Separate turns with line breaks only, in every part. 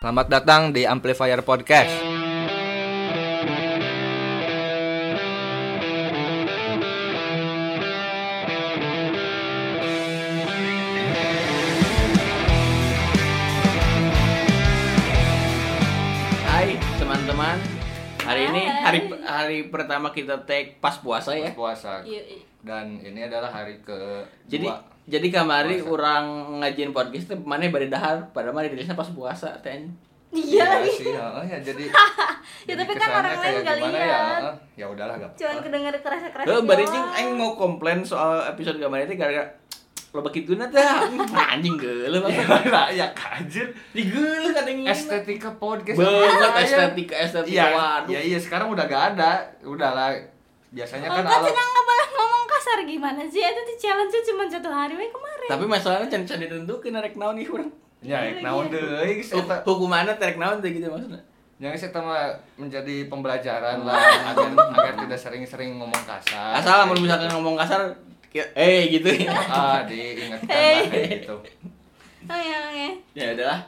Selamat datang di Amplifier Podcast.
Hai teman-teman. Hari ini
Hai.
hari hari pertama kita take pas puasa ya.
Puasa.
Yuk,
Dan ini adalah hari ke
Jadi
dua.
jadi kamari
Puasa.
orang ngajin podcast tuh mana bari dahar, pada mana rilisnya pas puasa ten.
Iya lagi.
sih, heeh, ya jadi
Ya,
jadi
tapi kan
kesannya
orang lain
kayak
nggak
gimana ya,
lihat.
heeh. Ya udahlah gak
Cuman kedenger keras-keras
Heuh, bari jeung aing mau komplain soal episode kamari teh gara-gara lo begitu nata anjing geuleuh maksudnya.
ya kajir
Digeuleuh kan yang ini.
estetika podcast
Banget
Iya.
estetika estetika
Iya,
waduh.
ya iya sekarang udah gak ada. Udahlah. Biasanya
Kalau
kan
kan
ala-
sedang nggak boleh ngomong kasar gimana sih? Itu di challenge cuma satu hari we kemarin.
Tapi masalahnya can can ditentukeun rek naon nih urang.
Ya,
Iya,
ek naon
iya.
deui geus eta.
Hukumannya terek naon teh gitu maksudnya.
Yang ya, saya tema menjadi pembelajaran lah agar, agar tidak sering-sering ngomong kasar.
Asal kalau misalkan ngomong kasar kayak, eh gitu ya.
ah diingatkan lah kayak gitu.
Oh iya, oke.
ya udahlah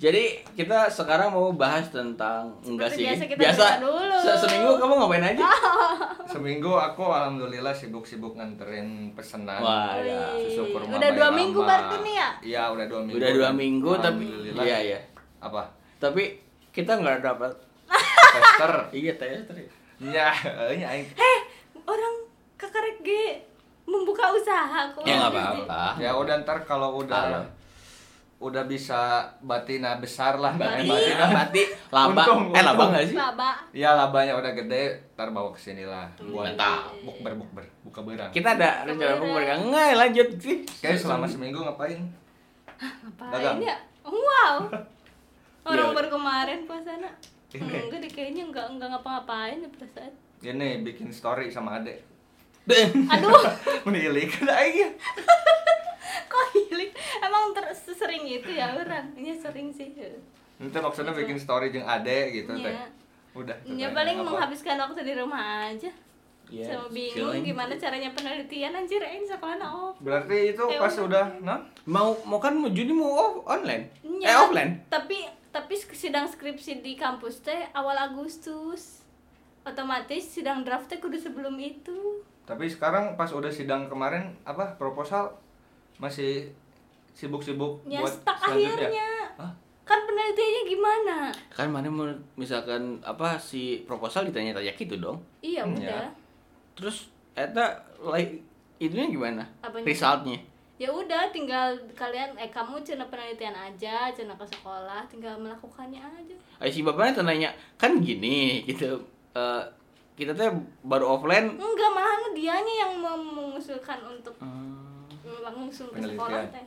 jadi kita sekarang mau bahas tentang enggak sih
biasa kita buka dulu. Ah.
se- seminggu kamu ngapain aja
Seminggu aku alhamdulillah sibuk-sibuk nganterin pesanan.
Wah, ya.
Susu kurma
Udah
bayi
dua
lama.
minggu berarti nih ya?
Iya, udah dua minggu.
udah dua minggu tapi
Alhamdulillah.
iya ya
Apa?
tapi kita nggak dapat
Tester.
iya tester
ya, eh, ya, aing-
Eh, orang kakarek ge membuka usaha kok.
ya nggak apa-apa
ya udah ntar kalau udah
Parah.
udah bisa batina besar lah
Batina.
Batina mati laba
Untung,
eh laba
untung.
nggak sih
Baba.
Ya labanya udah gede, ntar bawa ke sini lah. Buat
Mantap.
bukber bukber, buka berang.
kita ada rencana mau mereka nggak lanjut sih
Kayak selama seminggu ngapain? Dagang.
Ngapain ya? Wow.
Iya.
Orang baru kemarin puasana.
Ini.
Enggak deh kayaknya enggak enggak ngapa-ngapain ya perasaan.
Ini bikin story sama adek.
Aduh,
Menilik Nah, iya. aja.
kok hilik? Emang ter sering itu ya orang? Ini sering sih.
Nanti maksudnya bikin story jeung adek gitu
Gitu. Iya.
teh. Udah. teh,
Ya
teh.
paling
Iya, Apa?
menghabiskan waktu di rumah aja.
Iya,
Sama bingung
chilling.
gimana caranya penelitian anjir aing sekolah na off.
Berarti itu
Eh,
pas
udah.
udah nah
mau mau kan mau Juni mau off- online
Nya,
eh offline
Iya, Tapi tapi sidang skripsi di kampus teh awal Agustus. Otomatis sidang draft teh kudu sebelum itu.
Tapi sekarang pas udah sidang kemarin apa proposal masih sibuk-sibuk
Ya
buat
stuck
selanjutnya.
akhirnya.
Hah?
Kan penelitiannya gimana?
kan mana mau misalkan apa si proposal ditanya-tanya gitu dong
Iya
Hmm, ya.
udah.
terus eta like itunya gimana
Apanya?
resultnya
Ya udah tinggal kalian eh kamu cina penelitian aja, cina ke sekolah, tinggal melakukannya aja.
Ay, si bapaknya tuh nanya kan gini gitu eh, kita tuh baru offline
Enggak, malahan dianya yang mem- mengusulkan untuk
Hmm,
langsung ke
Penelitian.
sekolah teh.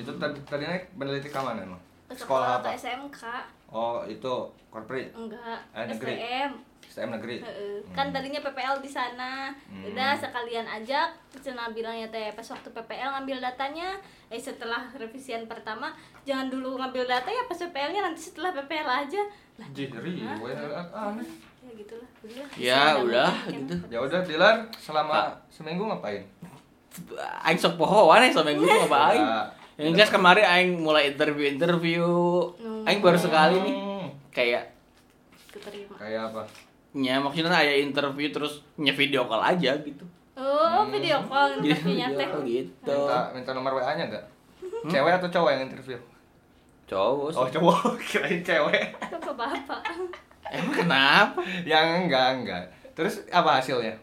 Itu tadi tadi naik peneliti ke mana emang?
Ke
Sekolah
sekolah atau
apa?
SMK?
Oh, itu corporate
Enggak,
Eh, negeri.
STM.
STM negeri.
Heeh. Kan tadinya PPL di sana.
Hmm.
Udah sekalian ajak, Cina bilangnya teh pas waktu PPL ngambil datanya, eh setelah revisian pertama jangan dulu ngambil data ya pas PPL-nya nanti setelah PPL aja. Lah,
Jiri,
Hah?
weh, eh, aneh.
ya gitulah. Udah.
ya
Sedang
udah
mungkin.
gitu
Ya udah Dilar, selama seminggu ngapain?
aing sok pohoan ya sama guru apa aing
Ya.
yang jelas kemarin aing mulai interview interview
Hmm.
aing baru sekali nih
Hmm,
kayak
Keterima.
Kayak apa?
ya maksudnya aya interview terus nya video call aja gitu
Oh, video call
Jadi
interviewnya
video
teh.
call gitu
Minta, minta nomor WA-nya enggak?
Hmm?
Cewek atau cowok yang interview?
cowok
Oh, cowok. Kirain cewek.
Apa bapak?
emang kenapa
Yang enggak, enggak. Terus apa hasilnya?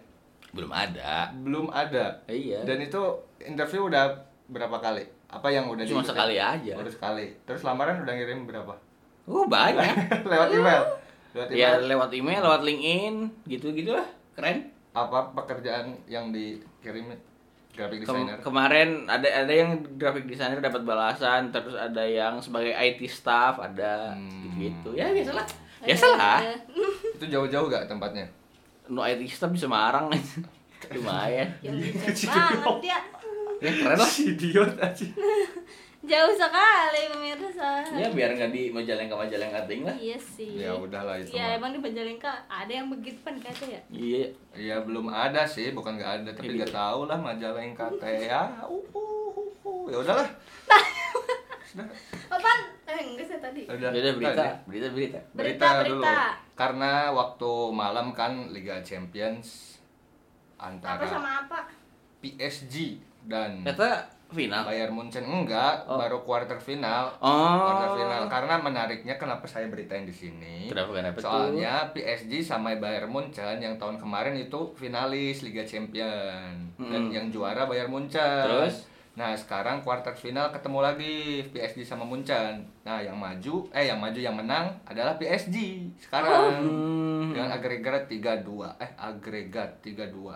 belum ada
Belum ada.
iya
Dan itu interview udah berapa kali? Apa yang udah
cuma
diikuti?
sekali ya? Iya. aja
Baru sekali. Terus lamaran udah ngirim berapa?
oh banyak
Lewat email. Lewat email.
Ya lewat email, lewat LinkedIn, gitu-gitu lah. Keren.
Apa pekerjaan yang dikirim graphic
Kem-
designer?
kemarin ada ada yang graphic designer dapat balasan, terus ada yang sebagai IT staff ada
Hmm.
gitu-gitu. Ya biasalah. Biasalah.
Eh,
Itu jauh-jauh gak tempatnya?
No IT staff di Semarang. Lumayan.
Ya udah, banget dia.
Ya keren lah.
idiot aja.
Jauh sekali pemirsa.
Ya biar nggak di Majalengka Majalengka ting lah.
Iya sih.
Ya udahlah itu
Ya
mah.
emang di Majalengka ada yang begitu kan kata ya.
Iya.
Iya belum ada sih, bukan nggak ada, tapi
Iya.
nggak tahu lah majalah yang kata ya. Uh, uh, uh, uh. Ya udahlah.
Apaan? Oh, Eh enggak sih tadi.
Udah, Hmm.
Jadi Ya berita,
tadi.
berita, berita.
Berita,
Berita,
dulu.
berita.
Karena waktu malam kan Liga Champions
apa
antara
sama apa
PSG dan
Ternyata final.
Bayern Munchen enggak,
Oh.
baru quarter final. Quarter
Oh.
final karena menariknya kenapa saya beritain di sini.
Kenapa kenapa tuh?
Soalnya PSG sama Bayern Munchen yang tahun kemarin itu finalis Liga Champion dan
Hmm.
yang juara Bayern Munchen.
Terus?
Nah, sekarang quarter final ketemu lagi PSG sama Munchen. Nah, yang maju eh yang maju yang menang adalah PSG sekarang
Hmm.
dengan agregat 3-2. Eh, agregat 3-2.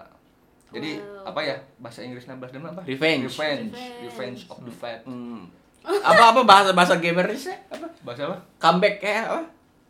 Jadi
Wow.
apa ya bahasa Inggris 16 dan apa?
Revenge.
Revenge.
Revenge.
Revenge of the Fat.
Hmm. Apa apa bahasa bahasa gamersnya apa?
Bahasa apa?
Comeback ya apa?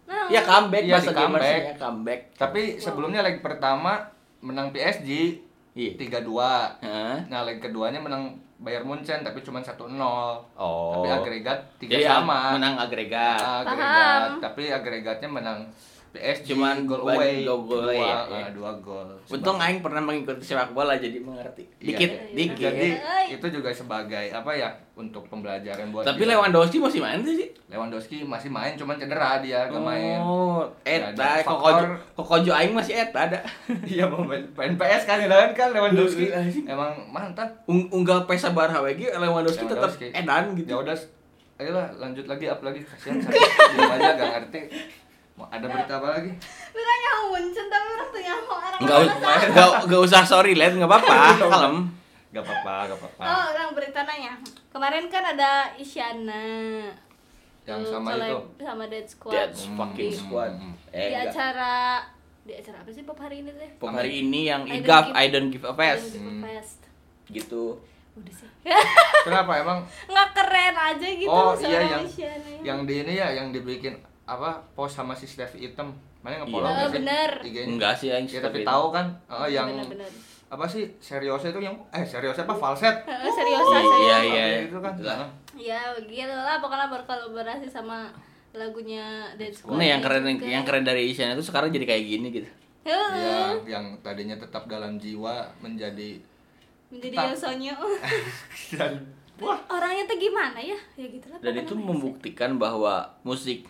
nah
Ya comeback
Iya,
bahasa
di comeback.
gamersnya Ya, comeback.
Tapi sebelumnya leg pertama menang PSG
Iya.
3-2.
Hah?
Nah, leg keduanya menang Bayern Munchen tapi cuma 1-0.
Oh.
Tapi agregat 3
Jadi ya,
sama.
Iya, menang agregat.
Ah. agregat,
Paham.
tapi agregatnya menang PSG
Cuman
gol
ban-
away.
gol
dua,
away,
ah,
ya.
dua gol.
Untung
Sebagai-
aing pernah mengikuti sepak bola jadi mengerti.
Iya.
Dikit,
Iya,
iya.
dikit.
Jadi
Oi.
itu juga sebagai apa ya untuk pembelajaran buat
Tapi
dia.
Lewandowski masih main sih?
Lewandowski masih main cuman cedera dia gak main.
Oh,
Nggak
eta
ada
kokojo
faktor.
kokojo aing masih eta ada.
Iya mau main main PS kan kan kan Lewandowski.
Iya, iya.
Emang mantap.
Ung unggal pesa bar HWG Lewandowski tetap
Lewandowski.
edan gitu.
Ya udah, ayolah lanjut lagi up lagi kasihan saya diam aja gak ngerti. Mau ada berita apa lagi?
lu kan yang muncul tapi orang tuh yang orang
Enggak
orang
usah, enggak enggak usah sorry, Let, enggak apa-apa, kalem.
Gak apa-apa, gak apa-apa.
oh orang berita nanya kemarin kan ada Isyana
Yang
Lu
sama
collab
itu.
sama Dead Squad
That's
Hmm.
fucking squad.
di
Eh, enggak.
acara di acara apa sih pop hari ini teh
Pokok hari ini yang
I don't
igaf
give-
I don't give a
Yang
pass
di
Hmm.
Fest.
gitu.
udah sih
Kenapa emang
nggak keren aja gitu
Oh,
seorang
iya, yang-
Isyana ini.
yang di ini ya yang dibikin apa pos sama si Steph Item? Mana nge-follow
Iya.
nggak
Eh,
sih?
bener.
IG-nya?
Enggak sih aing
Ya, tapi
tapi
tahu kan eh, yang
Bener-bener.
apa sih seriusnya itu yang eh seriusnya apa falset?
Eh, serius
Iya,
saya
iya.
Itu kan.
Itulah.
Nah,
ya begitu lah pokoknya berkolaborasi sama lagunya Dead Squad
Nah, yang keren
juga.
yang keren dari Isyana itu sekarang jadi kayak gini gitu.
Heeh.
Iya, yang tadinya tetap dalam jiwa menjadi
menjadi
Tak-
Yosonyo
dan wah
orangnya tuh gimana ya ya gitu lah
Dan
pokoknya
itu
mah.
membuktikan bahwa musik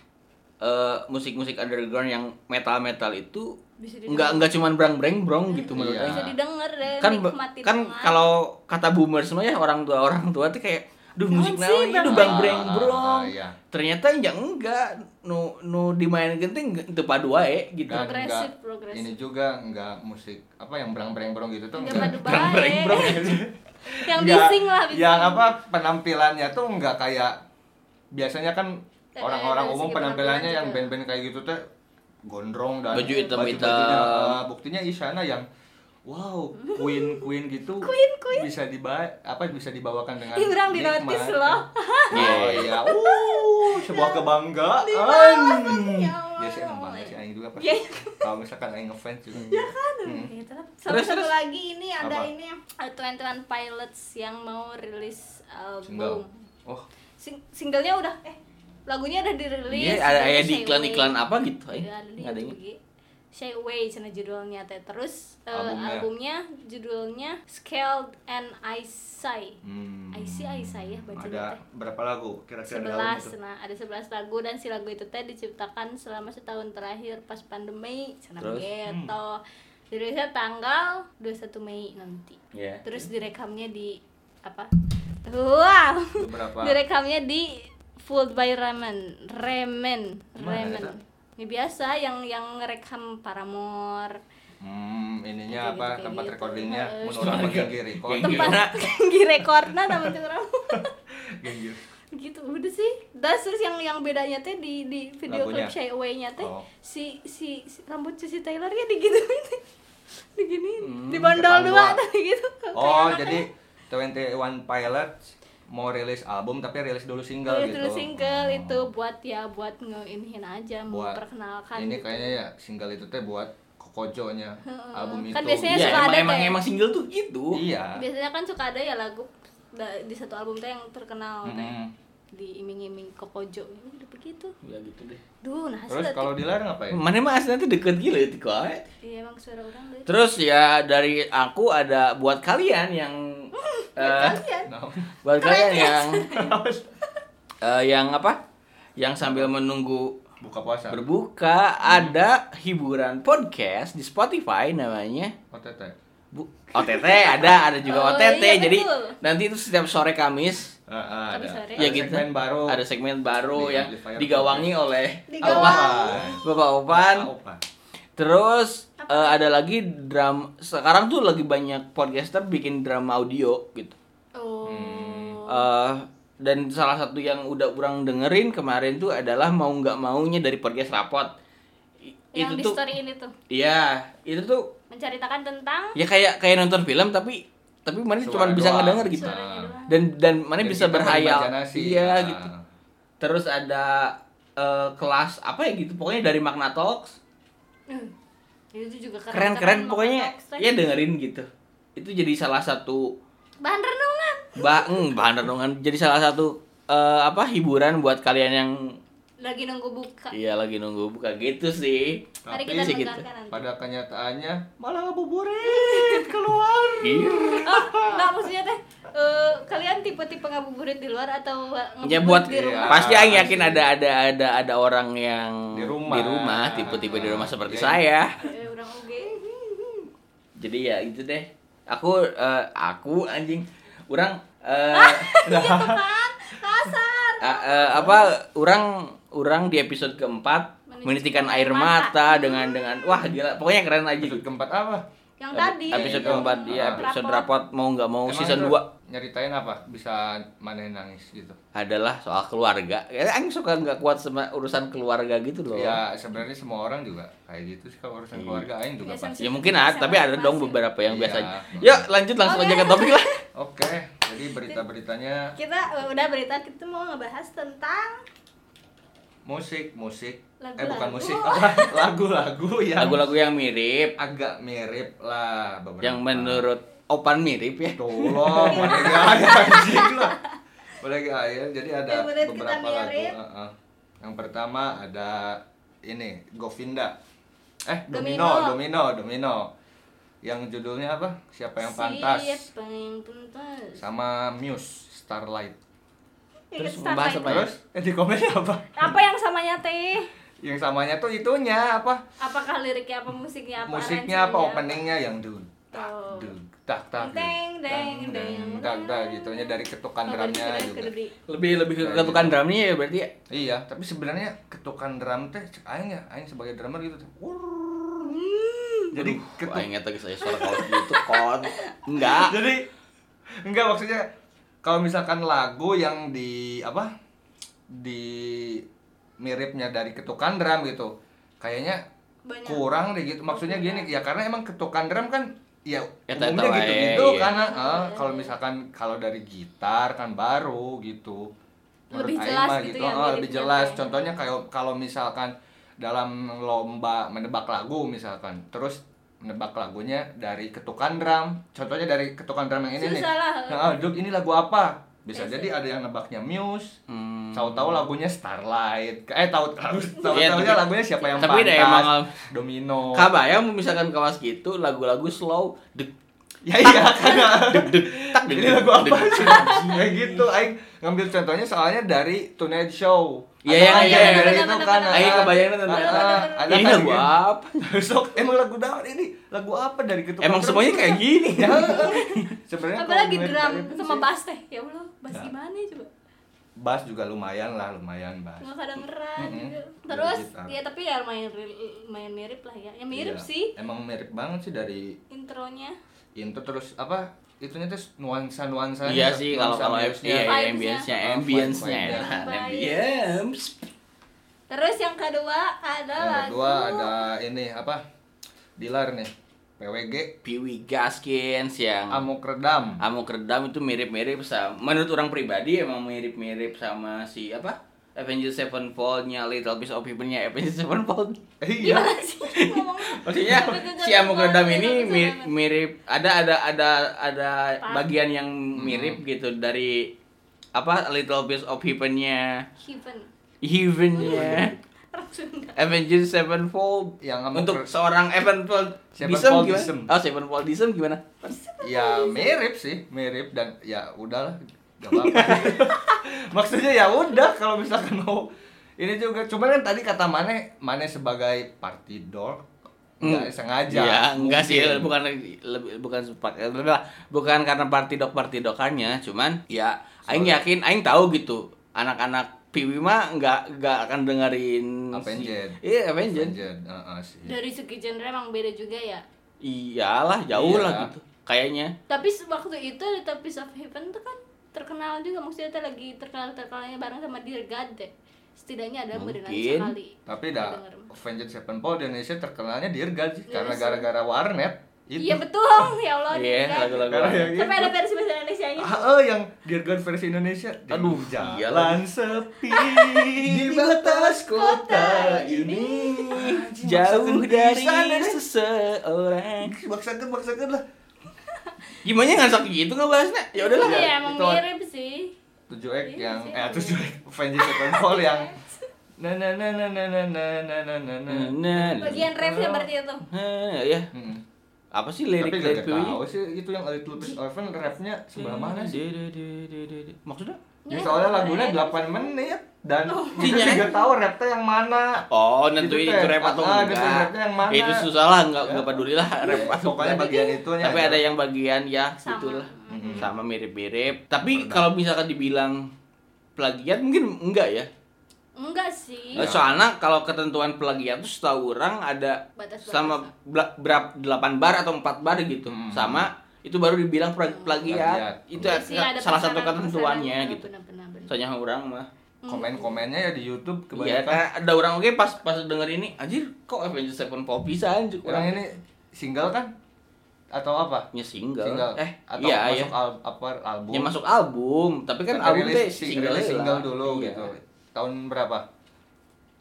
eh, musik-musik underground yang metal-metal itu
Bisa didengar.
enggak enggak cuman brang-brang brong gitu menurut
Iya.
aing.
bisa didengar dan
kan be-
nikmatin
kan
banget.
kalau kata boomer semuanya orang tua orang tua tuh kayak duh musik
Naon
naon
sih,
ya duh
Bang?
bang breng
Ah,
brong
iya.
ternyata ya enggak nu nu dimainkeun teh enggak- teu padu wae gitu
dan
Progresif,
enggak
progresif.
ini juga enggak musik apa yang berang-berang berong gitu tuh
Enggak
enggak.
padu
brang breng
baik.
brong
yang
Enggak,
bising lah bising.
yang apa penampilannya tuh enggak kayak biasanya kan
Eh,
orang-orang
dari
umum
segi
penampilannya
penampilan
yang
juga.
band-band kayak gitu tuh gondrong dan
Baju hitam-hitam.
baju-bajunya, eh, buktinya Isyana yang wow queen queen gitu
Queen, queen.
bisa dibawa apa bisa dibawakan dengan
Ih, orang di
nikmat.
notice loh.
Hmm.
oh iya uh sebuah kebanggaan
Di bawah, ya Allah,
ya sih
ya
emang
Allah,
bangga
ya.
sih Aing juga pas
Iya.
kalau misalkan Aing ngefans juga
Aduh,
Hmm.
gitu lah. sama
Terus,
satu
terus.
lagi ini ada
Apa?
ini Twenty One Pilots yang mau rilis
single
album
oh
Sing- singlenya udah eh lagunya udah
Iya, ada
dirilis
ada
judulnya Shy
di iklan iklan
Away.
apa gitu
ya?
aing
Iya, ada di
nggak ada
YouTube, Gi. Shy Away cina judulnya teh terus eh,
Albumnya.
albumnya. judulnya Scaled and Eyesight
hmm.
Aisy Aisy ya bacanya
ada
teh.
berapa lagu gitu. kira-kira di album
sebelas
itu?
nah ada 11 lagu dan si lagu itu teh diciptakan selama setahun terakhir pas pandemi sana
Terus?
gitu
Hmm.
dirilisnya tanggal 21 Mei nanti
Iya.
terus direkamnya di apa wow
Beberapa.
direkamnya di Fooled by Ramen Ramen
Mana
Ramen
itu?
ini biasa yang yang ngerekam Paramore
Hmm, ininya apa
Kayak gitu, kayak
tempat
gitu.
recordingnya
Eh,
mun orang mah genggi record.
Genggi.
Genggi.
tempat Genggi rekordnya sama orang
Genggi.
gitu udah sih das terus yang yang bedanya teh di di video
Lagunya.
klip Shy Away nya teh
Oh.
si, si si rambut Cici Taylor ya digituin diginiin
Hmm,
kayak
dibondol dua
tangguan.
tadi gitu
Oh, jadi 21 Pilot mau rilis album tapi rilis dulu single
single
gitu.
terus Iya, single
Oh.
itu buat ya buat ngeinihin aja
Buat-
memperkenalkan
Ini
gitu.
kayaknya ya single itu teh buat kokojonya album itu.
Kan biasanya
Iya,
suka
emang
ada
emang
kayak-
emang single tuh gitu
Iya.
biasanya kan suka ada ya lagu da- di satu album teh yang terkenal teh
Mm-mm.
diiming-iming kokojo udah begitu
ya gitu deh
duh nah
Terus kalau dilarang apa ya?
mana mah aslinya tuh deket gila itu kok
iya emang suara orang deh
Terus ya dari aku ada buat kalian yang eh,
kalian
Nah,
buat kalian yang eh, yang apa? yang sambil menunggu
buka puasa
berbuka ada hiburan podcast di Spotify namanya
OTT
Bu, OTT ada ada juga
Oh,
OTT
iya,
jadi
betul.
nanti itu setiap sore Kamis
Ah, ah,
Tapi
ada
sore.
ada
ya gitu
segmen baru
ada segmen baru
Oh. Di
yang
amplifier
digawangi oleh
Digawangi.
Alwan, Bapak Opan
Ah, Opan.
Kan terus eh, ada lagi drama sekarang tuh lagi banyak podcaster bikin drama audio gitu
Oh.
Eh, dan salah satu yang udah kurang dengerin kemarin tuh adalah mau nggak maunya dari podcast rapot I-
yang di
itu tuh
story ini tuh
iya itu tuh
menceritakan tentang
ya kayak kayak nonton film tapi tapi mana
Suara
cuma bisa
doang. Ah,
ngedenger gitu
suaranya doang.
dan dan mana
Dan
bisa
kita
berhayal
berimajinasi.
iya
Ah.
gitu terus ada eh, kelas apa ya gitu pokoknya dari Magna Talks
Hmm. Itu juga keren.
keren-keren pokoknya ya
ya
dengerin gitu itu jadi salah satu
bahan renungan.
ba mm, bahan renungan jadi salah satu eh, apa hiburan buat kalian yang
Lagi nunggu buka.
iya lagi nunggu buka gitu sih
Mari
Tapi
kita
sih gitu.
dengarkan nanti.
pada kenyataannya malah ngabuburit keluar
Iya.
Oh, enggak maksudnya teh eh, kalian tipe-tipe ngabuburit di luar atau ngabuburit
ya buat
di rumah?
Iya.
pasti Aing yakin
Pasti.
ada ada ada ada orang yang
Di rumah.
tipe-tipe di rumah seperti
Ya.
saya
Eh, orang oge.
jadi ya itu deh aku eh, aku anjing orang eh,
Apaan? Kan? Kasar.
a- eh, apa orang orang di episode keempat menitikan air mata dengan dengan wah gila pokoknya keren aja gitu.
episode keempat apa
Yang tadi.
episode
Iya,
keempat
iya.
dia episode
Rapot.
rapot mau nggak mau
Emang
season
itu
2
nyeritain apa bisa mana yang nangis gitu
adalah soal keluarga. Eh, Aing suka nggak kuat sama urusan keluarga gitu loh. Iya. Ya,
ya sebenarnya semua orang juga kayak gitu sih kalau urusan keluarga aing juga
Biasa
pasti
Ya mungkin ada, tapi ada dong beberapa yang
Iya.
biasanya. Yuk lanjut langsung aja ke topik lah.
oke jadi berita beritanya
Kita eh, udah berita kita mau ngebahas tentang
musik musik eh
Lagu-lagu.
bukan musik apa lagu-lagu yang
Lagu-lagu yang mirip,
agak mirip lah beberapa
yang menurut Opan mirip ya.
tolong udah gak ada anjing lah udah gak ada jadi ada
Yang menurut kita
beberapa lagu
mirip.
heeh. yang pertama ada ini Govinda eh
Domino.
Domino Domino Domino yang judulnya apa siapa yang pantas
Siapa yang pantas?
sama Muse Starlight
Terus
Ingat
membahas Apa
Starlight.
ya?
terus yang di komennya apa
Apa yang samanya teh?
yang samanya tuh itunya apa
Apakah liriknya apa musiknya apa
musiknya apa
aransemennya
openingnya yang dun tak
Oh.
dun tak tak dun,
Deng, deng, Oh,
dang,
deng,
dang, tak tak gitunya dari ketukan drumnya
Keren, keren,
juga
keren.
Lebih lebih ke
gitu.
ketukan drumnya ya berarti ya.
Iya, tapi sebenarnya ketukan drum teh cek aing ya, aing sebagai drummer gitu teh. "Wurr."
Hmm.
Jadi ketuk-
Aing ngeta saya suara kalau gitu kon. Enggak.
Jadi enggak maksudnya kalau misalkan lagu yang di apa? di miripnya dari ketukan drum gitu. Kayaknya
Banyak.
kurang deh gitu. Maksudnya gini, ya karena emang ketukan drum kan ya
Ya,
umumnya
tahu-tahu aja,
gitu-gitu
iya.
karena eh, kalau misalkan kalau dari gitar kan baru gitu.
Lebih
Menurut Aing
jelas
mah
gitu
eh,
ya, miripnya
lebih jelas.
teh.
Contohnya kayak kalau misalkan dalam lomba menebak lagu misalkan, terus menebak lagunya dari ketukan drum. Contohnya dari ketukan drum yang ini nih.
Susah lah. Iya
Nah, Duk, ini lagu apa? Bisa
Biasa.
jadi ada yang nebaknya Muse.
Hmm.
Tahu-tahu lagunya Starlight. Eh tahu tahu
Iya,
tahu
tapi-
lagunya siapa yang
tapi ada
pantas?
emang-
Domino.
Kabayang misalkan kawas gitu lagu-lagu slow deg
ya iya karena
deg tak deg
ini lagu apa sih? ya gitu aing ngambil contohnya soalnya dari Tonight Show Ada
Iya, yang-
aja
iya, iya,
dari
benar,
itu
benar,
kan
benar.
ah.
Aing kebayangnya tentang-
Ah, ah, ada
Ini
kan
lagu
gitu.
apa?
Besok emang lagu daun ini lagu apa dari ketua
Emang semuanya kayak gitu. gini.
ya sebenarnya kalau
Apalagi
dilihat
drum
dari itu
sama
sih, Nah.
bass teh. Ya Allah, bass gimana coba?
bass juga lumayan lah lumayan bass
Nggak kadang erat
Mm-mm.
gitu.
Dari
Terus
gitar.
ya tapi ya lumayan ril- lumayan mirip lah ya. Ya mirip
Iya.
sih
emang mirip banget sih dari
intronya.
intro terus apa itunya terus nuansa nuansa
Iya sih kalau kalau iya, iya, iya,
Vibes-nya.
ambience-nya,
Ah,
ambience-nya
vibe-nya.
enak,
Vibes.
ambience.
Terus yang kedua ada
yang
lagu. Iya.
kedua ada ini apa Dilar nih PWG
Piwi Gaskins yang
Amok Redam.
Amuk Redam itu mirip-mirip sama menurut orang pribadi emang mirip-mirip sama si apa? Avengers Sevenfold-nya Little Piece of Heaven-nya Avengers Sevenfold.
Iya.
Gimana sih ngomongnya?
Maksudnya si Amuk Redam ini mi-
Little Piece of Heaven.
mirip ada ada ada ada
Apa?
bagian yang
Hmm.
mirip gitu dari apa Little Piece of Heaven-nya
Heaven.
Iya,
Heaven-nya
Rasunda.
Avengers Sevenfold
Yang sama
untuk
Kurt-
seorang Sevenfold
Sevenfoldism.
gimana? Oh Sevenfoldism gimana?
Ya mirip sih, mirip dan
Iya.
ya udahlah, gak apa-apa. Maksudnya ya udah kalau misalkan mau ini juga cuman kan tadi kata Mane Mane sebagai party dog
Hmm.
nggak sengaja
Iya, enggak sih,
mungkin.
bukan lebih bukan sepak- eh, bukan- bukan karena partidok partidokannya, cuman ya aing yakin aing tahu gitu. Anak-anak Piwi mah enggak enggak akan dengerin
Avenged.
Si, iya, Avenged.
Avenged, heeh sih.
Dari segi genre emang beda juga ya.
Iyalah, jauh
Iya.
lah gitu. Kayaknya.
Tapi se- waktu itu Little Piece of Heaven tuh kan terkenal juga maksudnya teh lagi terkenal terkenalnya bareng sama Dear God deh. Setidaknya ada
Mungkin.
berenang sekali.
tapi dah
Denger.
Avenged Sevenfold di Indonesia terkenalnya Dear God sih
Iya
karena
sih.
gara-gara warnet itu
Iya betul, ya Allah.
Iya,
Dear God.
lagu-lagu.
Karena yang
Sampai
itu.
ada versi bahasa Indonesia nya.
Ah, eh, yang Dear God versi Indonesia Di
Aduh,
jalan
iya lagi.
sepi Di batas kota ini
Jauh
Maksudnya
dari
sana, deh.
seseorang.
Baksakan, baksakan lah
Gimana nggak sok gitu nggak bahasnya? Ya udahlah.
Iya, emang
Itu-
mirip sih.
tujuh X
Iya
yang
sih,
eh
iya.
tujuh X Avengers Sevenfold yang na na na na na na na na na na na
Nah,
Bagian rap seperti itu.
Hah, ya.
Hmm.
Apa sih
tapi
lirik
gak
lirik Piwi?
tahu sih itu yang Little Miss Orphan rapnya sebelah mana
Iya,
sih
Maksudnya?
Ya, soalnya lagunya 8 menit dan kita
Iya.
juga tahu rapnya yang mana
Oh, nentuin
Itu
itu,
teh.
rap atau
Ah, nentuin
enggak.
rapnya yang mana.
Itu susah lah, enggak
Ya.
enggak peduli lah rap
Ya,
atau
pokoknya
enggak.
bagian itunya gitu.
Tapi
aja.
ada yang bagian ya
Sama.
gitulah.
Mhm.
Sama mirip-mirip. Tapi
Pernah.
kalau misalkan dibilang plagiat mungkin enggak ya.
Enggak sih.
Ya.
Oh, Soalnya kalau ketentuan plagiat tuh setahu orang ada
Batas-batas
sama bla- berapa 8 bar atau 4 bar gitu.
Hmm.
Sama itu baru dibilang pra-
Plagiat.
plagiat. Itu
Iya
Sih, ada
salah satu
pesanan-pesanan.
ketentuannya
Benar,
gitu.
benar, benar, benar.
Soalnya orang mah
komen-komennya ya di YouTube
Iya,
kebanyakan
karena ada orang oke pas pas denger ini, anjir kok Avengers Sevenfold pisan anjir.
orang ini single kan atau apa
punya single.
single
Eh,
atau
iya, iya.
masuk al- apa album
Ya masuk album, tapi kan album
rilis
teh
sing-
single
rilis
heula.
single dulu
Iya.
gitu tahun berapa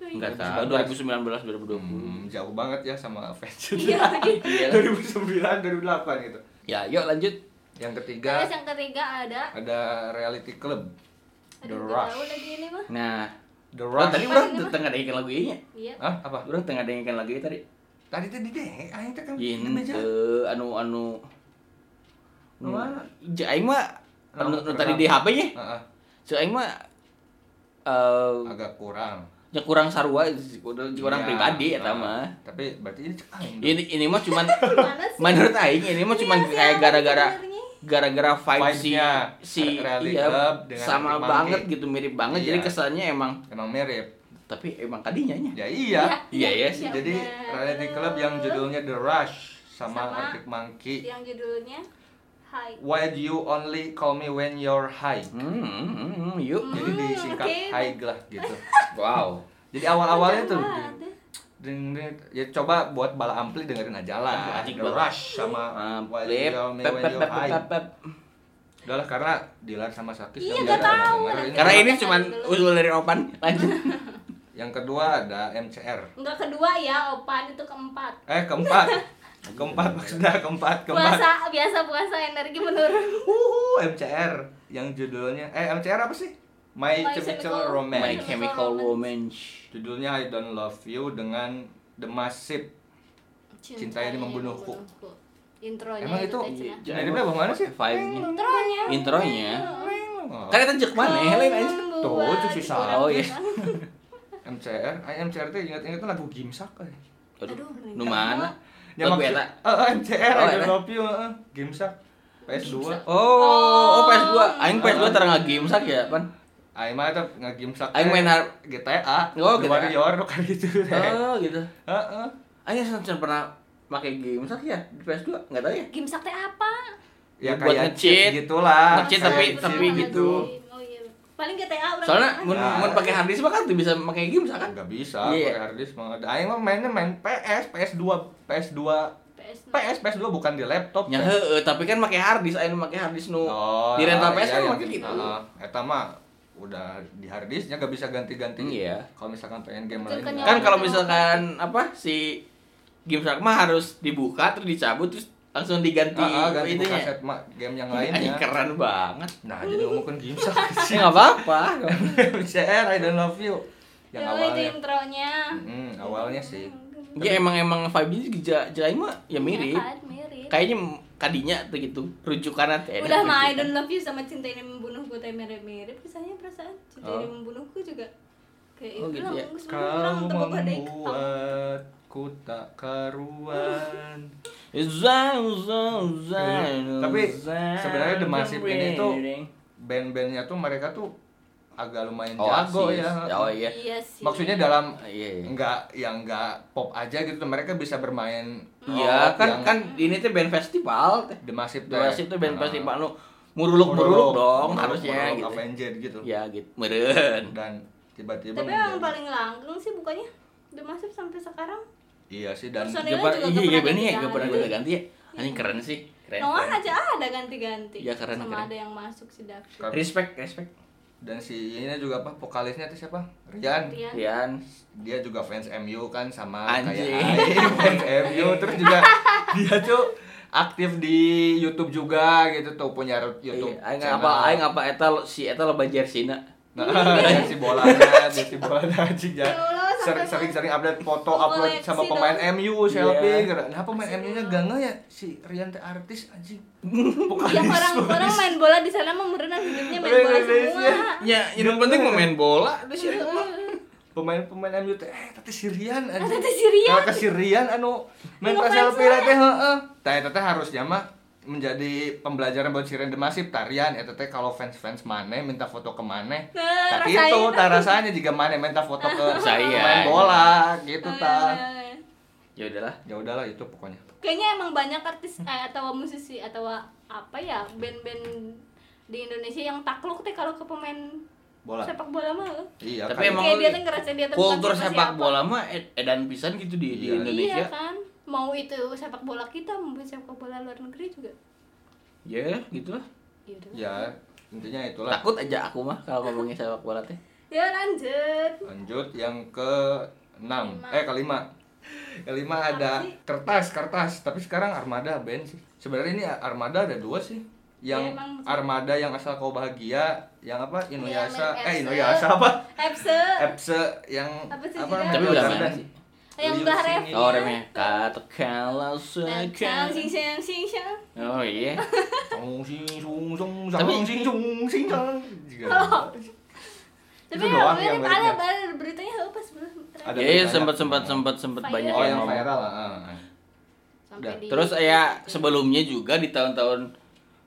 Enggak tahu
2019.
2019 2020.
Hmm, jauh banget ya sama Avenged
Iya.
2009 2008 gitu
Ya, yuk lanjut.
yang ketiga
iya. Terus yang ketiga ada
ada reality club The
Aduh, nggak tahu
Rush
lagi ini mah.
Nah,
The
oh,
Rush
tadi
Apa
orang
ini, Mas?
tengah dengerin lagu ini.
Iya.
Hah? apa
Orang tengah dengerin lagu ini tadi.
tadi tuh di deh aing teh kan Anu di
Yin
meja.
eh, anu anu
Nu mana?
Ja- aing mah
Ram-
anu- anu
ram.
tadi di HP nya.
Heeh,
So aing mah eh
agak kurang
yang Ya, kurang sarua udah kurang
Iya,
pribadi ya
heeh.
mah.
tapi berarti ini cek aing dong.
ini ini mah cuman
Gimana sih?
menurut aing ini mah cuman
Iya,
kayak
siapa
gara-gara
sebenarnya?
gara-gara vibe si
Vibe-nya,
si
Rally
iya,
Club dengan
sama
Arctic Monkey.
banget gitu mirip banget jadi
Iya.
kesannya emang
emang mirip
tapi emang kadinya nya
ya iya
Iya, iya sih.
ya
Jadi
bener.
reality club yang judulnya The Rush sama,
Sama Iya.
Arctic Monkey.
yang judulnya Hi.
Why do you only call me when you're high?
hmm, hmm, hmm, yuk
Jadi
Hmm,
disingkat
oke.
high lah gitu.
wow
Jadi awal-awalnya tuh
Ada.
deng- deng- ya coba buat bala ampli dengerin aja lah.
Asik
The
banget. Ah,
Rush sama Ah, Why do you call me when you're high. Udah lah karena Dilan sama Sakis
Iya,
yang udah
gak tahu.
dengerin.
karena ini
Dulu.
cuman usul dari opan
gitu?
lanjut
yang kedua ada MCR.
Enggak kedua ya, Opan itu keempat.
Eh keempat. keempat maksudnya keempat keempat.
Puasa biasa puasa energi menurun.
Uhu, MCR yang judulnya eh MCR apa sih? My,
My
Chemical
Chemical
Romance.
my
Romance.
chemical romance
Judulnya I Don't Love You dengan The Massive. Cinta ini membunuhku.
Intronya
Emang itu
teh cenah.
Nah, ini mah bagaimana sih?
vibe-nya
intronya.
intronya
Oh,
kan kita cek mana lain aja
Tuh,
Membuat
itu susah.
kurang
Oh, iya.
kita.
MCR, I MCR itu ingat-ingat tuh lagu Gimsak kan.
aduh
Aduh,
nu mana
Ya
Lagu
maksud,
eta.
Eh, MCR,
Oh,
I Don't
eta.
Love You, eh, Gimsak. PS2.
Oh, oh
Oh.
PS2. Aing PS2 terang game sak ya, Pan.
Aing mah eta nge-Gimsak.
Aing main har-
GTA,
Oh,
The
GTA.
Warrior tuh kan gitu. Eh, Heeh.
Oh, gitu.
Heeh.
Aing sancan pernah pakai game sak ya di PS2, enggak tahu ya.
Gimsak teh apa?
Ya
Buat
kayak
nge-cheat.
cheat gitulah.
Nge-cheat
Kayak
tapi-
cheat
tapi gitu.
Oh iya. Paling GTA orang.
Soalnya mun
Ya.
mun pakai hard disk mah kan tuh bisa pakai game sak kan.
Enggak bisa,
Iya.
pakai hard disk mah. Aing mah mainnya main PS, PS2, PS2,
PS.
PS, PS2 bukan di laptop.
Ya heeh, tapi kan pakai hard disk, aing pakai hard disk nu
Oh,
di rental PS kan
iya,
makin
iya.
gitu.
Heeh. Eta mah udah di hard disknya gak bisa ganti-ganti.
Iya.
Kalau misalkan pengen game
Itu
lain.
kenyang.
Kan kalau misalkan apa si game sak mah harus dibuka terus dicabut terus langsung diganti
Ah, ah, ganti buka
itunya.
set mah game yang
Anjing
lainnya.
keren banget.
Nah, jadi ngomongin game sak.
Ya enggak apa-apa.
MCR I don't love you. Yang
Yang Ya, itu
awalnya.
intronya.
Hmm, awalnya sih.
Ya emang emang vibe-nya juga Jaim mah ya mirip.
Ya kan, mirip.
kayaknya m- kadinya tuh gitu rujukan teh
Udah mah I don't love you sama cinta ini membunuhku teh mirip-mirip kisahnya perasaan cinta ini membunuhku juga Kayak
Oh,
itu
gitu
lah
ya. Oh,
mungkus
Kamu
untuk gua ada ikut.
membuatku tak karuan.
Zang, zang, zang,
Tapi
zang,
sebenarnya The Massive ini
ring,
tuh
ring.
Band-bandnya tuh mereka tuh agak lumayan
oh,
jago
asis.
ya.
Oh iya.
Iya sih.
Maksudnya dalam
Iya. iya.
enggak yang enggak pop aja gitu mereka bisa bermain
Iya,
rock
kan
yang
kan ini tuh Ah. band festival teh.
The Massive
The Massive tuh band
Nah,
festival nu muruluk-muruluk dong harusnya
muruluk
gitu.
Avenged gitu.
Ya gitu. Meren.
Dan tiba-tiba
Tapi yang
menjadi-
paling langgeng sih bukannya The Massive sampai sekarang.
Iya sih dan
Iya,
Personil- Personilnya
iya,
juga gak
iya
pernah
bener ya, gak
diganti.
pernah gue ganti ya. Anjing keren sih. Keren.
Noah
keren.
aja ada ganti-ganti.
Iya, keren,
Sama
keren.
ada yang masuk si David.
Keren.
Respect, respect.
dan si ini juga apa vokalisnya itu siapa? Rian.
Rian.
Rian.
Dia juga fans MU kan sama
Anjing.
kayak Aing fans MU terus juga dia tuh aktif di YouTube juga gitu tuh punya YouTube.
Iya, aing
channel.
apa aing apa eta lo- si eta lo banjir Sina.
Nah, dia si bolanya, dia si bolanya anjing ya.
Ya Allah,
Ser-
sampai
Sering-sering update foto upload
Koleksi
sama pemain
dong.
MU selfie.
Iya.
gitu. Kenapa pemain
Koleksi
MU-nya
dong.
gak nge ya si Rian teh artis anjing.
Yang orang-orang Ya, main bola di sana mah berenang hidupnya main bola
Indonesia.
semua. Iya,
Ya, yang penting mau main bola di sini.
Pemain-pemain MU teh eh tapi si Rian anjing.
Tadi si Rian.
Kalau ke Sirian anu main
Nggak
ke selfie
fans
teh heeh. Tah eta teh harusnya mah menjadi pembelajaran buat Sirian Demasif tarian eta teh kalau fans-fans maneh minta foto ke maneh.
Nah,
Tapi
rasain.
itu tak rasanya jika maneh minta foto ke
Saya.
main bola gitu
Eh,
tah.
Ya udahlah.
Ya udahlah itu pokoknya.
Kayaknya emang banyak artis eh, atau musisi atau apa ya band-band di Indonesia yang takluk teh kalau ke pemain
Bola.
sepak bola mah.
Iya
Tapi
kan.
emang-
Kayak dia tuh ngerasa dia tuh bukan
Kultur
siapa-siapa.
sepak bola mah ed- edan pisan gitu di, di
Iya.
Indonesia.
Iya kan? Mau itu sepak bola kita, mau sepak bola luar negeri juga.
Ya, gitu lah.
Ya udah.
ya intinya itulah.
Takut aja aku mah kalau ngomongin sepak bola teh.
Ya lanjut.
Lanjut yang ke 6
Kelima.
eh kelima. Kelima
Apa
ada
sih?
kertas, kertas. Tapi sekarang Armada band sih. Sebenarnya ini Armada ada dua sih. Yang
Ya, emang.
Armada yang asal kau bahagia, yang apa
Iya,
Inuyasha,
Yang
eh
Epse.
Inuyasha apa?
Epse.
Epse yang
Apa sih juga?
Tapi udah
Belanda
mana
sih?
sih?
Yang
Liu
udah
Xing
ref.
ini.
Oh, remnya. Katakanlah
Yang siang sing
sekarang.
siang sing siang.
Oh iya.
Song sing sung sung
Tapi-
song sing sung sing song. Juga.
Oh. Tapi
Itu
yang
doang yang
mirip ada
miripnya.
ada beritanya apa sebelum ref.
Ada
Ya,
beritanya.
sempat sempat sempat sempat
Viral.
banyak
Oh yang
ngomong.
viral lah. ah.
Sampai
Udah.
di-
Terus ya sebelumnya juga di tahun-tahun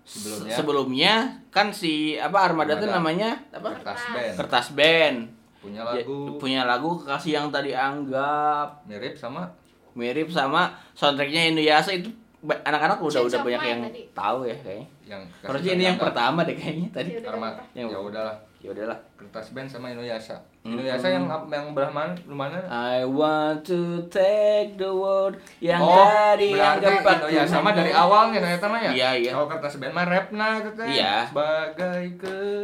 se-
Sebelumnya.
sebelumnya kan si apa Armada, tuh
Armada.
namanya apa?
Kertas
Kertas.
band.
Kertas Band.
Punya
Ya,
lagu
punya lagu kasih yang tadi anggap
mirip sama
mirip sama soundtracknya Inuyasha itu ba- anak-anak udah
Change
udah
of
banyak
Mind
yang
tadi.
tahu ya kayaknya.
yang Kertas
Harusnya
Band
ini yang
ada.
pertama deh kayaknya tadi.
Iya.
Armada.
Yang-
Ya udahlah.
Ya udahlah.
kertas band sama Inuyasha.
Hmm.
Inuyasha yang yang belah mana? Lu mana?
I want to take the world yang
oh,
tadi
berarti
anggap aku.
Inuyasha sama dari awal ya ternyata mah ya.
Iya, iya.
Kalau kertas band mah rapna gitu kan.
Iya.
Sebagai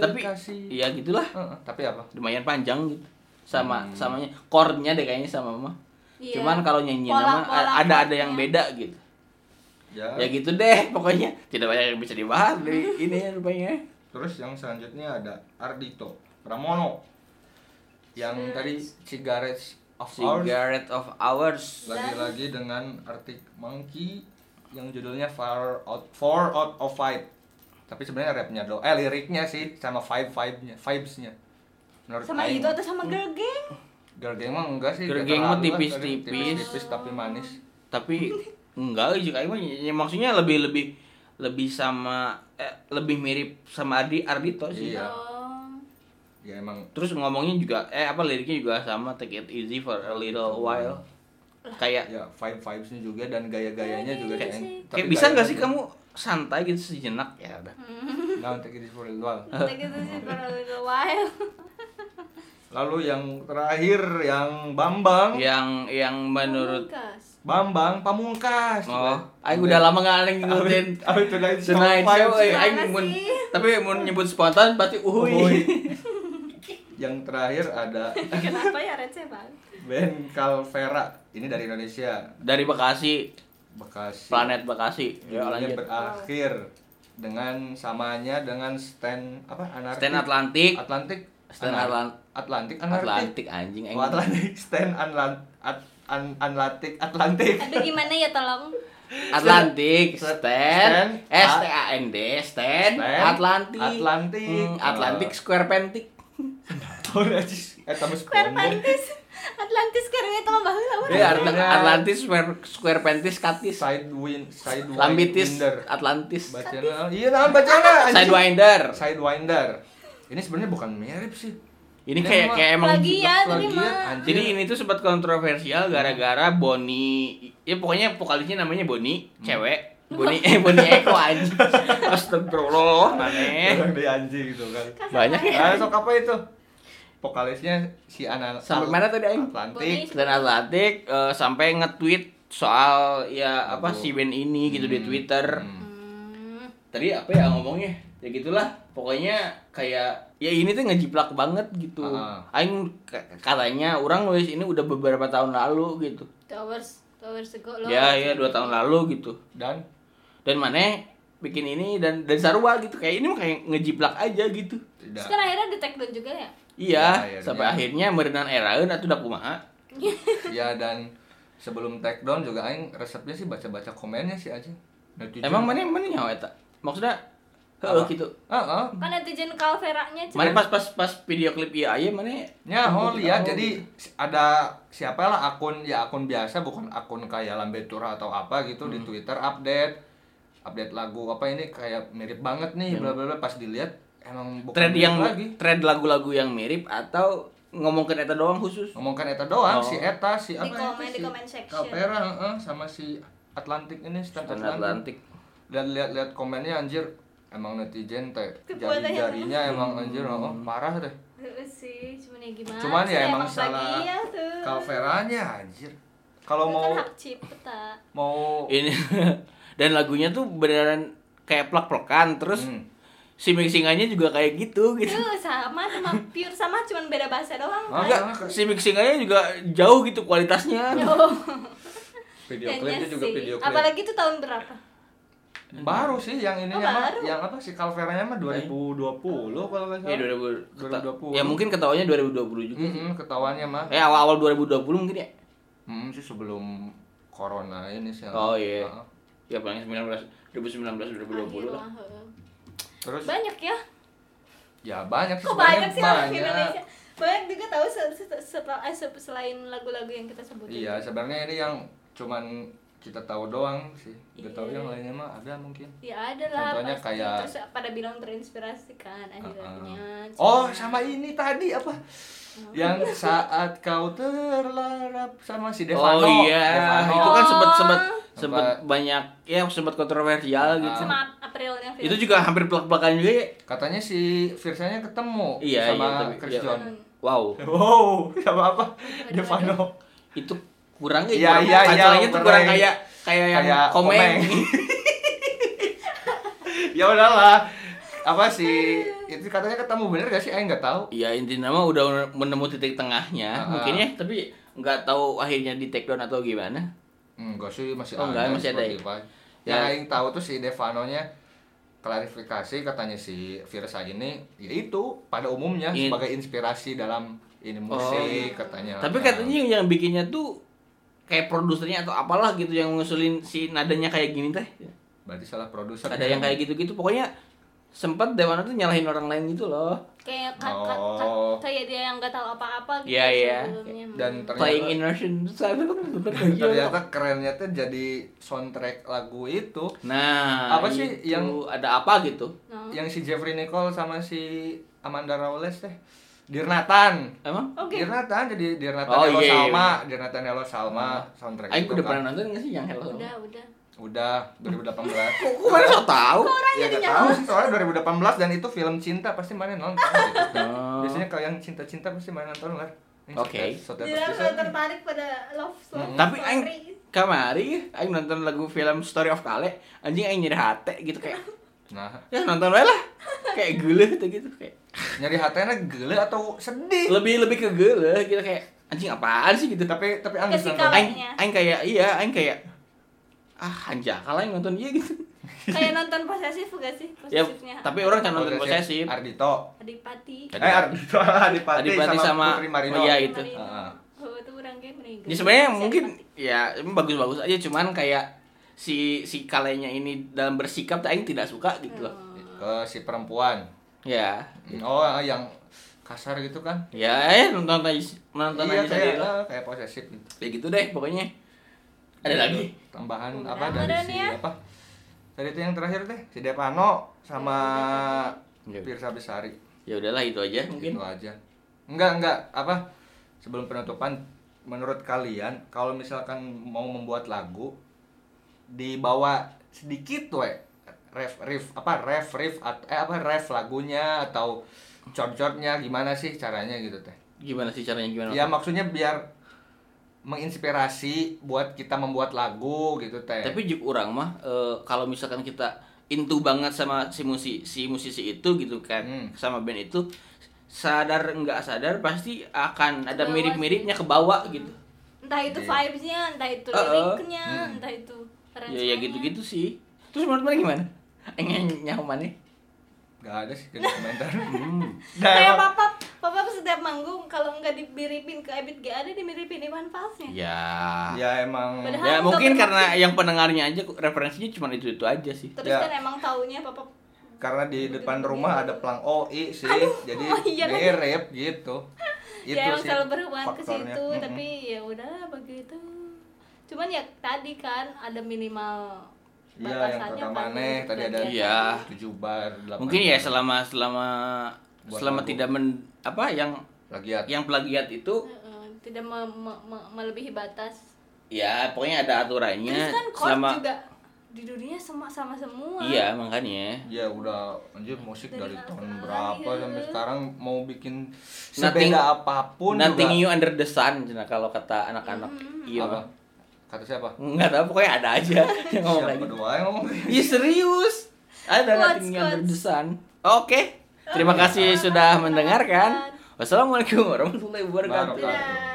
Tapi
kekasih.
iya gitulah.
Heeh, tapi apa?
Lumayan panjang gitu. Sama
Hmm.
samanya chordnya deh kayaknya sama mah.
Iya.
Cuman kalau nyanyi nama
Pola-
eh,
pola
ada ada yang
chordnya.
beda gitu.
Ya.
Ya gitu deh pokoknya. Tidak banyak yang bisa dibahas dari ini ya rupanya.
Terus yang selanjutnya ada Ardito Pramono. Yang tadi Cigarettes of Ours
Cigarette of Hours.
lagi-lagi dengan Arctic Monkey yang judulnya Far Out Four Out of Five. Tapi sebenarnya rapnya do, eh liriknya sih sama vibe vibe-nya, vibes-nya. Menurut
sama
Aing
itu atau sama girl gang?
Girl Gang mah enggak sih. nggak
Girl Gang
terlalu
mah
lah,
tipis-tipis.
tadi Tipis-tipis tapi manis.
tapi enggak juga emang ya, maksudnya lebih lebih lebih sama eh, lebih mirip sama Ardi Ardito sih.
Iya.
Oh.
Ya emang
Terus ngomongnya juga eh apa liriknya juga sama take it easy for a little while. Kayak
ya vibe vibesnya juga dan gaya-gayanya juga
Kayak-
kayaknya.
kayak bisa nggak sih kamu santai gitu sejenak ya udah.
Nah, take it for a while.
Kita gitu sih para little while.
Lalu yang terakhir yang Bambang.
Yang yang
Oh
menurut
Pamungkas.
Bambang Pamungkas.
oh, aing udah lama nggak ada yang ngikutin
Apa itu lagi?
Tonight Show, eh, aing
Gimana
mun-
sih?
tapi mau nyebut spontan berarti uhui.
Yang terakhir ada
Kenapa ya receh banget?
Ben Calvera. Ini dari Indonesia,
Dari Bekasi,
Bekasi.
planet Bekasi. Ya
Judulnya
lanjut.
berakhir dengan samanya dengan stand apa anarkis
Stand Atlantik.
Atlantik
Stand
Anar-
Atlan-
Atlantik anarkis
Atlantik anjing
Oh,
anjing.
Atlantik stand Anlan At An Atlantik Atlantik
Aduh gimana ya tolong?
Atlantik,
Stand-
stand,
stand,
S T A N D, stand,
Stand,
Atlantik,
Atlantik.
Hmm, Atlantik
Eh.
Square Pentik,
Tahu nggak sih? eh tapi
Square
sekolah
Pantis Atlantis karena itu mah baheula
Dia
urang.
Ar- Eh, Atlantis Square, Square Pantis Katis.
side win side
Lambitis
winder
Atlantis.
bacana iya nah bacana anjing.
Sidewinder.
sidewinder ini sebenarnya bukan mirip sih Ini
Ini kayak
emang
kayak emang
Lagi ya, tapi
Plagiat,
mah
anjing.
Jadi ini tuh sempat kontroversial gara-gara Boni ya pokoknya vokalisnya namanya Boni, cewek. Boni eh Boni Eko anjing. Astagfirullah maneh.
Orang dia anjing gitu kan
Banyak ya.
nah sok apa itu vokalisnya si anak
Sampai mana tadi, Aing?
Atlantik
Dan Atlantik eh, sampai nge-tweet soal ya apa si band ini gitu di
Hmm.
Twitter.
Hmm.
Hmm.
Tadi apa ya ngomongnya? Ya gitulah. Pokoknya kayak ya ini tuh ngejiplak banget gitu.
Ah.
Aing k- katanya orang nulis ini udah beberapa tahun lalu gitu.
Two hours, two hours ago lo.
Ya ya dua tahun lalu gitu.
dan
dan mana bikin ini dan dan sarua gitu kayak ini mah kayak ngejiplak aja gitu
tidak
Terus kan akhirnya di take down juga ya?
iya
Ya, akhirnya.
sampai akhirnya merenang eraeun atuh da kumaha
ya dan sebelum takedown juga aing resepnya sih baca-baca komennya sih aja Netizen.
emang mana mana nyawa eta maksudnya
Apa?
heeh gitu
ah ah.
Kan netizen Calvera-nya
mana pas pas pas video klip iya ieu aya mana
Ya, oh
Tahu
lihat
gitu.
jadi si- ada siapa lah akun ya akun biasa bukan akun kayak Lambe Tura atau apa gitu
Hmm.
di Twitter update update lagu apa ini kayak mirip banget nih bla bla bla pas dilihat emang bukan mirip
trend Hmm. yang
lagi
trend lagu-lagu yang mirip atau ngomongin eta doang khusus
ngomongkan Eta doang
Oh.
si Eta si apa itu,
komen- di
si
comment section.
Kapera heeh, sama si Atlantic ini Stan
Trend
Atlantic.
Atlantik
dan lihat-lihat komennya anjir emang netizen teh
Kekuatannya.
jari-jarinya emang anjir oh,
Hmm.
parah deh
Terus sih, cuman ya gimana?
cuman
sih,
ya emang
bagi
salah
ya tuh.
Calveranya anjir kalau
Itu
mau
kan hak cipta.
mau
ini dan lagunya tuh beneran kayak plak-plakan terus
Hmm.
si mixingannya juga kayak gitu gitu
Tuh sama sama pure sama cuman beda bahasa doang.
Ah,
Enggak, si mixingannya juga jauh gitu kualitasnya.
Yo.
video
Kayaknya
klipnya juga
sih.
video klip
Apalagi itu tahun berapa?
baru sih yang ininya
Oh,
mah
baru.
yang apa sih Calveranya mah 2020 kalau nggak
Ya
salah
2000,
2020.
Ya mungkin ketawanya 2020 juga.
Mm-mm, ketahuannya mah
Eh awal-awal 2020 mungkin ya.
Hmm, sih sebelum corona ini sih
Oh, iya.
Heeh.
Ya paling 19 2019 2020 lah.
Akhir lah, heeh.
terus
Banyak ya.
ya banyak sih
Kok
sebenarnya,
banyak sih orang Indonesia? Banyak juga tahu se- se- setelah eh, se- selain lagu-lagu yang kita sebutin.
iya sebenarnya ini yang cuman kita tahu doang sih nggak tahu
Iya.
yang lainnya mah ada mungkin
Ya ada lah.
Contohnya
pasti.
kayak-
Terus pada bilang terinspirasi kan akhir-akhirnya.
Oh,
Cuman- Oh.
sama ini tadi apa? Yang saat kau terlarap sama si Devano.
Oh iya,
Devano.
itu kan sempat sempat
Apa-
sempat banyak ya sempat kontroversial gitu.
Ah.
Sama Aprilnya film.
Itu juga hampir belak-belakan juga ya.
katanya si Virsanya ketemu
Iya,
sama
iya, tapi-
Chris
iya.
John.
Hmm.
Wow,
Wow, sama apa? Devano.
itu kurang ya.
Iya,
kurang-
iya, iya,
pancelannya tuh
kurang.
kurang kayak kayak yang
Kayak
komeng.
Eh, komeng. ya udahlah. Apa sih? Itu katanya ketemu bener gak sih? Aing nggak tahu.
Iya intinya mah udah menemu titik tengahnya
Ah.
mungkin ya tapi nggak tahu akhirnya di take down atau gimana.
Enggak sih, masih
Oh, enggak, masih ada ya?
Spotify.
Ya.
Yang Aing tahu tuh si Devano-nya klarifikasi katanya si Virsa ini yaitu pada umumnya
Ini-
sebagai inspirasi dalam ini
Oh.
musik katanya.
Tapi
Nah.
katanya yang bikinnya tuh kayak produsernya atau apalah gitu yang ngusulin si nadanya kayak gini teh.
berarti salah produser. ya.
Ada yang kayak gitu-gitu pokoknya sempat Dewana tuh nyalahin orang lain gitu loh.
kayak kat, kat, kat,
Oh.
kayak dia yang gak tahu apa-apa gitu
Iya, iya.
sebelumnya.
Dan ternyata
Playing innocent. gitu.
ternyata kerennya tuh jadi soundtrack lagu itu
Nah,
Apa sih
itu
yang-
ada apa gitu?
Nah.
yang si Jeffrey Nicole sama si Amanda Rawles teh Dirnatan
Emang?
Oke.
Dirnatan jadi Dirnatan
Oh,
Hello
iya, iya,
Salma Dirnatan Hello Salma soundtrack
Aing
itu
udah
kan.
pernah nonton gak sih yang Hello?
Udah, udah.
Ya, udah 2018
Kok mana so tau?
ya
Iya,
gak tahu sih soalnya 2018 dan itu film cinta pasti mana nonton gitu.
Oh.
biasanya kalau yang cinta-cinta pasti mana nonton lah Yang
Oke.
sotet- sotet-
Dia
sotet-
langsung tertarik pada love story.
Hmm,
Tapi aing
eh.
kamari aing nonton lagu film Story of Kale, anjing aing nyeri hate gitu kayak.
nah
Ya nonton wae lah. Kayak geuleuh tuh gitu kayak.
nyari hatenya gele atau sedih
Lebih lebih ke geuleuh gitu kayak anjing apaan sih gitu.
tapi tapi angin
Kesikal.
nonton
Aing aing kayak iya, aing kayak ah anjir kalau aing nonton iya gitu.
kayak nonton posesif gak sih?
Ya,
Posesifnya.
tapi orang kan nonton
Oke, sip.
posesif.
Ardito
Adipati.
eh Ardito Adipati,
Adipati sama-
Putri Marino
oh, iya,
Adipati
itu.
Marino.
Heeh.
Oh, itu orang kayak meninggal.
Ya sebenarnya
Posesif
mungkin
Adipati.
ya emang bagus-bagus aja cuman kayak si si kalenya ini dalam
Gitu Hmm.
bersikap tuh aing tidak suka gitu loh.
Oh.
ke si perempuan
Ya.
oh yang kasar gitu kan
ya eh nonton aja nonton
iya
aja
kayak
sendiri lah.
eh, kayak posesif gitu
ya gitu deh pokoknya ada lagi
tambahan
Udah,
apa dari
udah
si
nih ya.
apa tadi itu yang terakhir deh si Depano sama
Ya.
Pirsa Besari
ya udahlah itu
itu
aja mungkin
aja enggak enggak apa sebelum penutupan menurut kalian kalau misalkan mau membuat lagu dibawa sedikit we ref riff apa ref riff at- eh apa ref lagunya atau chord-chordnya gimana sih caranya gitu teh
gimana sih caranya gimana
ya maksudnya biar menginspirasi buat kita membuat lagu gitu teh
tapi juk orang mah eh, kalau misalkan kita into banget sama si musi si musisi itu gitu kan
Hmm.
sama band itu sadar nggak sadar pasti akan ada
Kebawa
mirip-miripnya ke bawah gitu
entah itu
Iya.
vibesnya entah itu
Eh, eh.
liriknya entah itu
ya ya
arrangementnya.
gitu-gitu sih terus menurut mana gimana Enggak nyaman nih
Gak ada sih jadi komentar.
Hmm.
Gak
Nah,
kayak
emang.
papa papa setiap manggung kalau nggak dimiripin ke Ebit G ada dimiripin Iwan Falsnya
ya ya,
Ya emang.
Padahal-
mungkin karena yang pendengarnya aja referensinya cuma itu itu aja sih
terus
Ya.
kan emang taunya papa
Karena di depan rumah ada pelang OI sih, jadi
iya. oh iya lagi.
mirip gitu. Itu
ya emang
sih
selalu berhubungan ke
faktornya.
situ
Mm-mm.
tapi ya udah begitu cuman ya tadi kan ada minimal
Iya yang
batasannya
kota
kan,
maneh
untuk
tadi ada
bagian
Iya.
tujuh bar, delapan
mungkin ya
bar.
selama selama
Buat
selama
lagu.
tidak men apa yang
Plagiat.
yang plagiat itu
Heeh, tidak me- me- me- melebihi batas
ya pokoknya ada aturannya
terus kan chord
Iya, selama
juga di dunia sama sama semua
iya makanya
Ya udah anjir musik
Dari
dari
awal,
tahun berapa
iya.
sampai sekarang mau bikin
Nothing-
sebeda apapun
nothing
juga.
you under the sun cina, kalau kata anak-anak iya
Apa?
mah.
Kata siapa?
nggak tahu pokoknya ada aja yang ngomong
Siapa
lagi
kedua yang ngomong?
Iya serius ada
Quotes,
nothing you under
quotes.
the sun oke terima kasih sudah mendengarkan wassalamualaikum warahmatullahi wabarakatuh
Barokah.
Dadah.